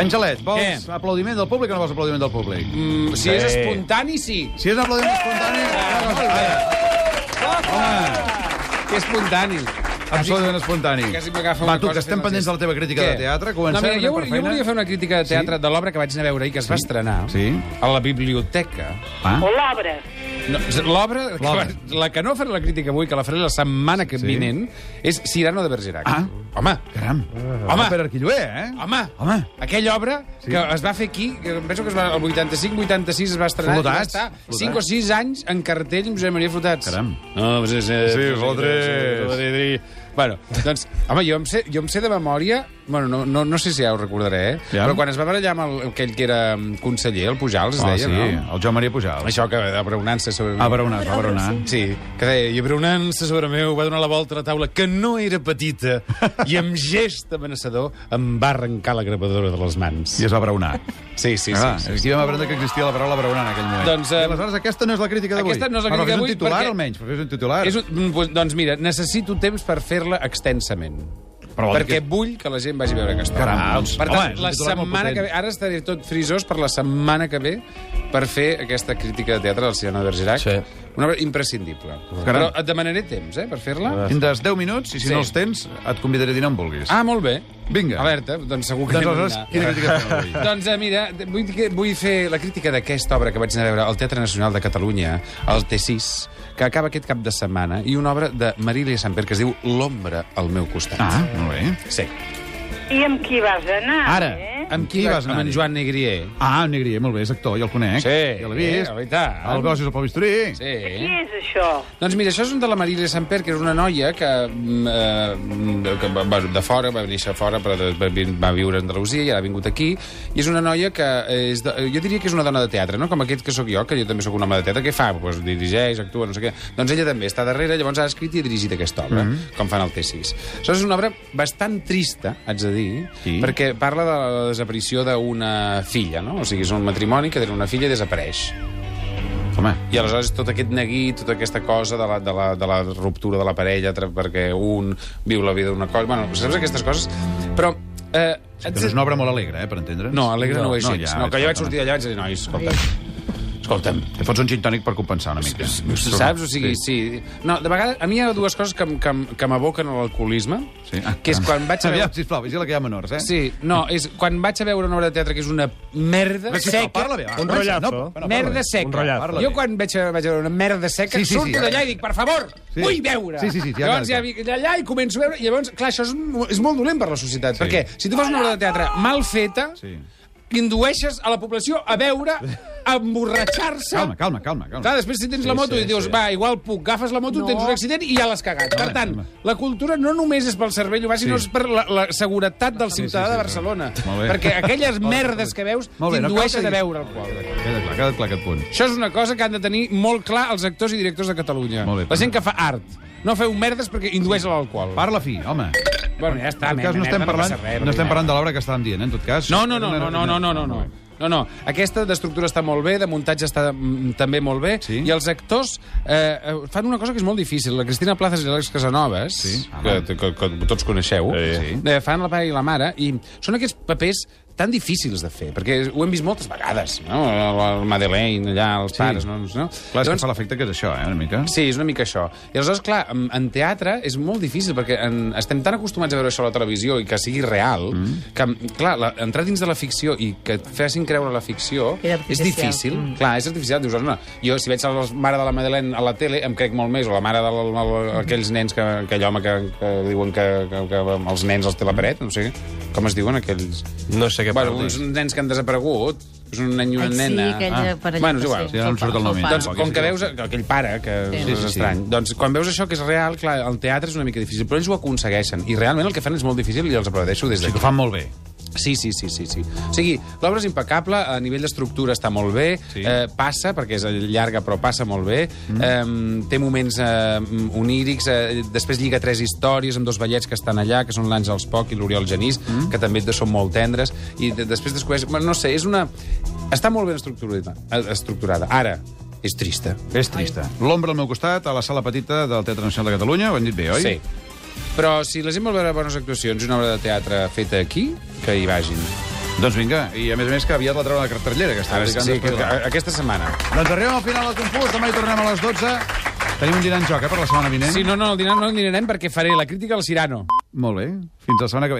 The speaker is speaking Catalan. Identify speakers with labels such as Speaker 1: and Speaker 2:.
Speaker 1: Angelet, vols Què? aplaudiment del públic o no vols aplaudiment del públic?
Speaker 2: Mm, si sí. és espontani, sí.
Speaker 1: Si és un aplaudiment
Speaker 2: Eh!
Speaker 1: espontani... eh, no, no,
Speaker 2: Que espontani.
Speaker 1: Absolutament espontani.
Speaker 2: quasi m'agafa
Speaker 1: Va,
Speaker 2: una
Speaker 1: tu,
Speaker 2: cosa
Speaker 1: que estem
Speaker 2: fent
Speaker 1: pendents de la teva crítica de teatre, comencem
Speaker 2: no, mira, jo,
Speaker 1: anem per
Speaker 2: jo
Speaker 1: feina.
Speaker 2: volia fer una crítica de teatre sí? de l'obra que vaig anar a veure i que es va estrenar
Speaker 1: Sí.
Speaker 2: a la biblioteca.
Speaker 1: Va.
Speaker 3: O l'obra.
Speaker 2: No, l'obra, que
Speaker 1: L'obra.
Speaker 2: va- la que no faré la crítica avui, que la faré la setmana que
Speaker 1: Sí.
Speaker 2: sí. vinent, és Cyrano de Bergerac.
Speaker 1: Ah.
Speaker 2: Home,
Speaker 1: Caram.
Speaker 2: Home.
Speaker 1: Per Arquilloé, eh?
Speaker 2: home,
Speaker 1: Home.
Speaker 2: aquella obra
Speaker 1: Sí.
Speaker 2: sí. que es va fer aquí, que penso que es va, el 85-86 es va estrenar, i va
Speaker 1: Flotats.
Speaker 2: estar
Speaker 1: Flotats.
Speaker 2: 5 o 6 anys en cartell amb Josep Maria Flotats.
Speaker 1: Caram.
Speaker 2: No, pues és... Eh,
Speaker 1: Sí, Flotres.
Speaker 2: Bueno, doncs, home, jo em sé, jo em sé de memòria... Bueno, no, no, no sé si ja ho recordaré, eh?
Speaker 1: Ja.
Speaker 2: Ja. Però quan es va barallar amb el, aquell que era mm, conseller, el Pujals, es
Speaker 1: Ah,
Speaker 2: deia,
Speaker 1: sí, Ah,
Speaker 2: no?
Speaker 1: el Joan Maria Pujal.
Speaker 2: Això que abraonant-se sobre... mi.
Speaker 1: A veure una, a veure una.
Speaker 2: Sí, que deia, i abronant-se sobre meu, va donar la volta a la taula, que no era petita, i amb gest amenaçador em va arrencar la gravadora de les mans.
Speaker 1: I es va braunar.
Speaker 2: Sí, sí, sí.
Speaker 1: ah,
Speaker 2: sí.
Speaker 1: Aquí vam aprendre que existia la paraula braunar en aquell moment.
Speaker 2: Doncs, eh,
Speaker 1: I aleshores aquesta no és la crítica d'avui.
Speaker 2: aquesta no és la
Speaker 1: Però
Speaker 2: crítica
Speaker 1: fes
Speaker 2: d'avui
Speaker 1: un titular,
Speaker 2: perquè-
Speaker 1: almenys. però Fes un titular.
Speaker 2: És un, mm, pues, doncs mira, necessito temps per fer-la extensament.
Speaker 1: Però vol dir
Speaker 2: perquè
Speaker 1: que-
Speaker 2: vull que la gent vagi a veure aquesta obra.
Speaker 1: Caram, doncs,
Speaker 2: Per
Speaker 1: home,
Speaker 2: tant,
Speaker 1: és un
Speaker 2: la
Speaker 1: titular molt
Speaker 2: setmana
Speaker 1: potent.
Speaker 2: que ve, ara estaré tot frisós per la setmana que ve per fer aquesta crítica de teatre del Cirano de Bergerac.
Speaker 4: Sí.
Speaker 2: Una obra imprescindible.
Speaker 1: Caram.
Speaker 2: Però et demanaré temps, eh, per fer-la.
Speaker 1: Tindràs 10 minuts i si
Speaker 2: Sí.
Speaker 1: no els tens et convidaré a dinar on vulguis.
Speaker 2: Ah, molt bé.
Speaker 1: Vinga.
Speaker 2: Alerta, doncs segur que
Speaker 1: Doncs
Speaker 2: anem a
Speaker 1: aleshores,
Speaker 2: dinar.
Speaker 1: quina crítica fem avui?
Speaker 2: Doncs eh, mira, vull, que- vull fer la crítica d'aquesta obra que vaig anar a veure al Teatre Nacional de Catalunya, al T6, que acaba aquest cap de setmana, i una obra de Marília Samper que es diu L'ombra al meu costat.
Speaker 1: Ah, molt bé.
Speaker 2: Sí.
Speaker 3: I amb qui vas anar,
Speaker 1: Ara.
Speaker 3: eh?
Speaker 2: Amb qui,
Speaker 1: Qui
Speaker 2: vas
Speaker 1: vas anar?
Speaker 2: Amb en Joan Negrier.
Speaker 1: Ah, en Negrier, molt bé, és actor, jo el conec.
Speaker 2: Sí,
Speaker 1: Ja l'he vist.
Speaker 2: eh, i tant.
Speaker 1: El gos és el Pau Bisturí.
Speaker 2: Sí.
Speaker 3: Qui és això?
Speaker 2: Doncs mira, això és un de la Marília Samper, que és una noia que, mm, eh, que va, va- de fora, va néixer fora, però de- va, vi- va viure a Andalusia i ara ha vingut aquí. I és una noia que eh, és... De, jo diria que és una dona de teatre, no? Com aquest que sóc jo, que jo també sóc un home de teatre. Què fa? Pues, dirigeix, actua, no sé què. Doncs ella també està darrere, llavors ha escrit i ha dirigit aquesta obra, mm -hmm. com fan el T6. Això és una obra bastant trista, haig de dir,
Speaker 1: Sí.
Speaker 2: sí. perquè parla de la desaparició d'una filla, no? O sigui, és un matrimoni que té una filla i desapareix.
Speaker 1: Home,
Speaker 2: I aleshores tot aquest neguit, tota aquesta cosa de la, de la, de la ruptura de la parella tra- perquè un viu la vida d'una cosa... Bueno, saps aquestes coses? Però... Eh, et-
Speaker 1: però és una obra molt alegre, eh, per entendre'ns.
Speaker 2: No, alegre no, ho és gens. No, que jo vaig sortir
Speaker 1: exactament.
Speaker 2: d'allà i vaig dir, nois, escolta'm, escolta'm,
Speaker 1: Te fots un gin tònic per compensar una mica.
Speaker 2: saps? O sigui, sí. No, de vegades, a mi hi ha dues coses que, em- que, em- que m'aboquen a l'alcoholisme,
Speaker 1: Sí. Ah,
Speaker 2: que és
Speaker 1: caram.
Speaker 2: quan vaig a
Speaker 1: Aviam,
Speaker 2: veure...
Speaker 1: sisplau, vigila que hi ha menors, eh?
Speaker 2: Sí, no, és quan vaig a veure una obra de teatre que és una merda
Speaker 1: Però, sisplau,
Speaker 2: seca,
Speaker 1: Parla bé, va,
Speaker 4: Un
Speaker 1: comença.
Speaker 4: rotllazo.
Speaker 1: parla bé.
Speaker 2: merda
Speaker 4: un
Speaker 2: seca.
Speaker 4: rotllazo.
Speaker 1: Parla
Speaker 2: Jo
Speaker 1: bé.
Speaker 2: quan veig a, vaig a veure una merda seca,
Speaker 1: Sí,
Speaker 2: sí,
Speaker 1: sí,
Speaker 2: sí, surto
Speaker 1: sí.
Speaker 2: d'allà i dic, per favor,
Speaker 1: Sí.
Speaker 2: sí. vull veure.
Speaker 1: Sí, sí, sí, ja cal,
Speaker 2: llavors ja
Speaker 1: cal.
Speaker 2: vinc allà i començo a veure, i llavors, clar, això és, mo- és molt dolent per la societat,
Speaker 1: Sí.
Speaker 2: sí. perquè si tu fas una obra de teatre mal feta,
Speaker 1: Sí.
Speaker 2: sí. indueixes a la població a veure, a emborratxar-se...
Speaker 1: Calma, calma, calma.
Speaker 2: Clar,
Speaker 1: calma.
Speaker 2: després si tens la moto
Speaker 4: sí,
Speaker 2: i dius,
Speaker 4: sí.
Speaker 2: va, igual puc, agafes la moto,
Speaker 5: No.
Speaker 2: tens un accident i ja l'has cagat. Per tant,
Speaker 1: calma.
Speaker 2: la cultura no només és pel cervell humà, sinó
Speaker 1: Sí.
Speaker 2: és per la, la seguretat del
Speaker 1: sí,
Speaker 2: ciutadà
Speaker 1: sí,
Speaker 2: de
Speaker 1: sí.
Speaker 2: Barcelona.
Speaker 1: Molt bé.
Speaker 2: Perquè aquelles merdes que veus
Speaker 1: Molt bé, no cal
Speaker 2: t'indueixen
Speaker 1: que
Speaker 2: a
Speaker 1: diguis-
Speaker 2: veure el poble.
Speaker 1: Queda clar, queda clar aquest punt.
Speaker 2: Això és una cosa que han de tenir molt clar els actors i directors de Catalunya.
Speaker 1: Molt bé,
Speaker 2: la gent que fa art. No feu merdes perquè indueix a l'alcohol.
Speaker 1: Parla fi, home.
Speaker 2: Bueno, ja està.
Speaker 1: En tot cas, no
Speaker 2: merda,
Speaker 1: estem parlant,
Speaker 2: eh, passa res,
Speaker 1: no estem
Speaker 2: merda.
Speaker 1: parlant de l'obra que estàvem dient, eh, en tot cas.
Speaker 2: No, no, no, no, no, no, no, no, no. No, no. Aquesta d'estructura està molt bé, de muntatge està mm, també molt bé,
Speaker 1: Sí.
Speaker 2: i els actors eh, eh, fan una cosa que és molt difícil. La Cristina Plazas i l'Àlex Casanovas,
Speaker 1: Sí.
Speaker 2: que, que, que tots coneixeu,
Speaker 1: Sí.
Speaker 2: eh, fan la pare i la mare, i són aquests papers tan difícils de fer, perquè ho hem vist moltes vegades, no? La la Madeleine, allà, els
Speaker 1: Sí.
Speaker 2: pares, no? no?
Speaker 1: Clar, és que fa l'efecte que és això, eh, una mica.
Speaker 2: Doncs- Sí, és una mica això. I aleshores, clar, en, en teatre és molt difícil, perquè en, estem tan acostumats a veure això a la televisió i que sigui real, mm. que, clar, la, entrar dins de la ficció i que et facin creure la ficció
Speaker 5: Era
Speaker 2: és
Speaker 5: artificial.
Speaker 2: difícil. Mm. Clar, és artificial. Dius, no, jo, si veig la mare de la Madeleine a la tele, em crec molt més, o la mare d'aquells nens que, aquell home que, que diuen que, que, que els nens els té la paret, no sé, com es diuen aquells...
Speaker 4: No sé què
Speaker 2: bueno,
Speaker 4: parles.
Speaker 2: uns nens que han desaparegut, és un nen i una
Speaker 5: Ai, sí,
Speaker 2: nena... Ah.
Speaker 5: aquella parella
Speaker 2: Bueno, és
Speaker 5: que
Speaker 2: igual.
Speaker 5: sé,
Speaker 1: Sí, ara em
Speaker 5: fa-
Speaker 1: surt el nom.
Speaker 5: fa-
Speaker 1: Doncs,
Speaker 5: fa-
Speaker 1: Tampoc
Speaker 2: Com
Speaker 1: és
Speaker 2: que
Speaker 1: igual.
Speaker 2: veus aquell pare, que
Speaker 5: Sí.
Speaker 2: sí, és
Speaker 1: Sí, sí, sí.
Speaker 2: estrany. Doncs quan veus això que és real, clar, el teatre és una mica difícil, però ells ho aconsegueixen. I realment el que fan és molt difícil i els aplaudeixo des
Speaker 1: Sí, que
Speaker 2: d'aquí.
Speaker 1: ho fan molt bé.
Speaker 2: Sí, sí, sí, sí, sí. O sigui, l'obra és impecable, a nivell d'estructura està molt bé,
Speaker 1: Sí.
Speaker 2: sí. eh, passa, perquè és llarga però passa molt bé, mm. eh, té moments eh, onírics, eh, després lliga tres històries amb dos ballets que estan allà, que són l'Àngels Poc i l'Oriol Genís, mm. que també són molt tendres, i de, després descobreix... Bueno, no sé, és una... Està molt ben estructurada. eh, estructurada. Ara, és trista.
Speaker 1: És trista. L'ombra al meu costat, a la sala petita del Teatre Nacional de Catalunya, ho hem dit bé, oi?
Speaker 2: Sí. Però si la gent vol veure bones actuacions i una obra de teatre feta aquí, que hi vagin.
Speaker 1: Doncs vinga, i a més a més que aviat la treuen a la cartellera, que està
Speaker 2: Ara,
Speaker 1: publicant
Speaker 2: sí, que,
Speaker 1: després de-
Speaker 2: a- aquesta setmana.
Speaker 1: Doncs arribem al final del concurs, demà hi tornem a les 12. Tenim un dinar en joc, eh, per la setmana vinent.
Speaker 2: Sí, no, no, el dinar no el dinarem perquè faré la crítica al Cirano.
Speaker 1: Molt bé, fins la setmana que ve.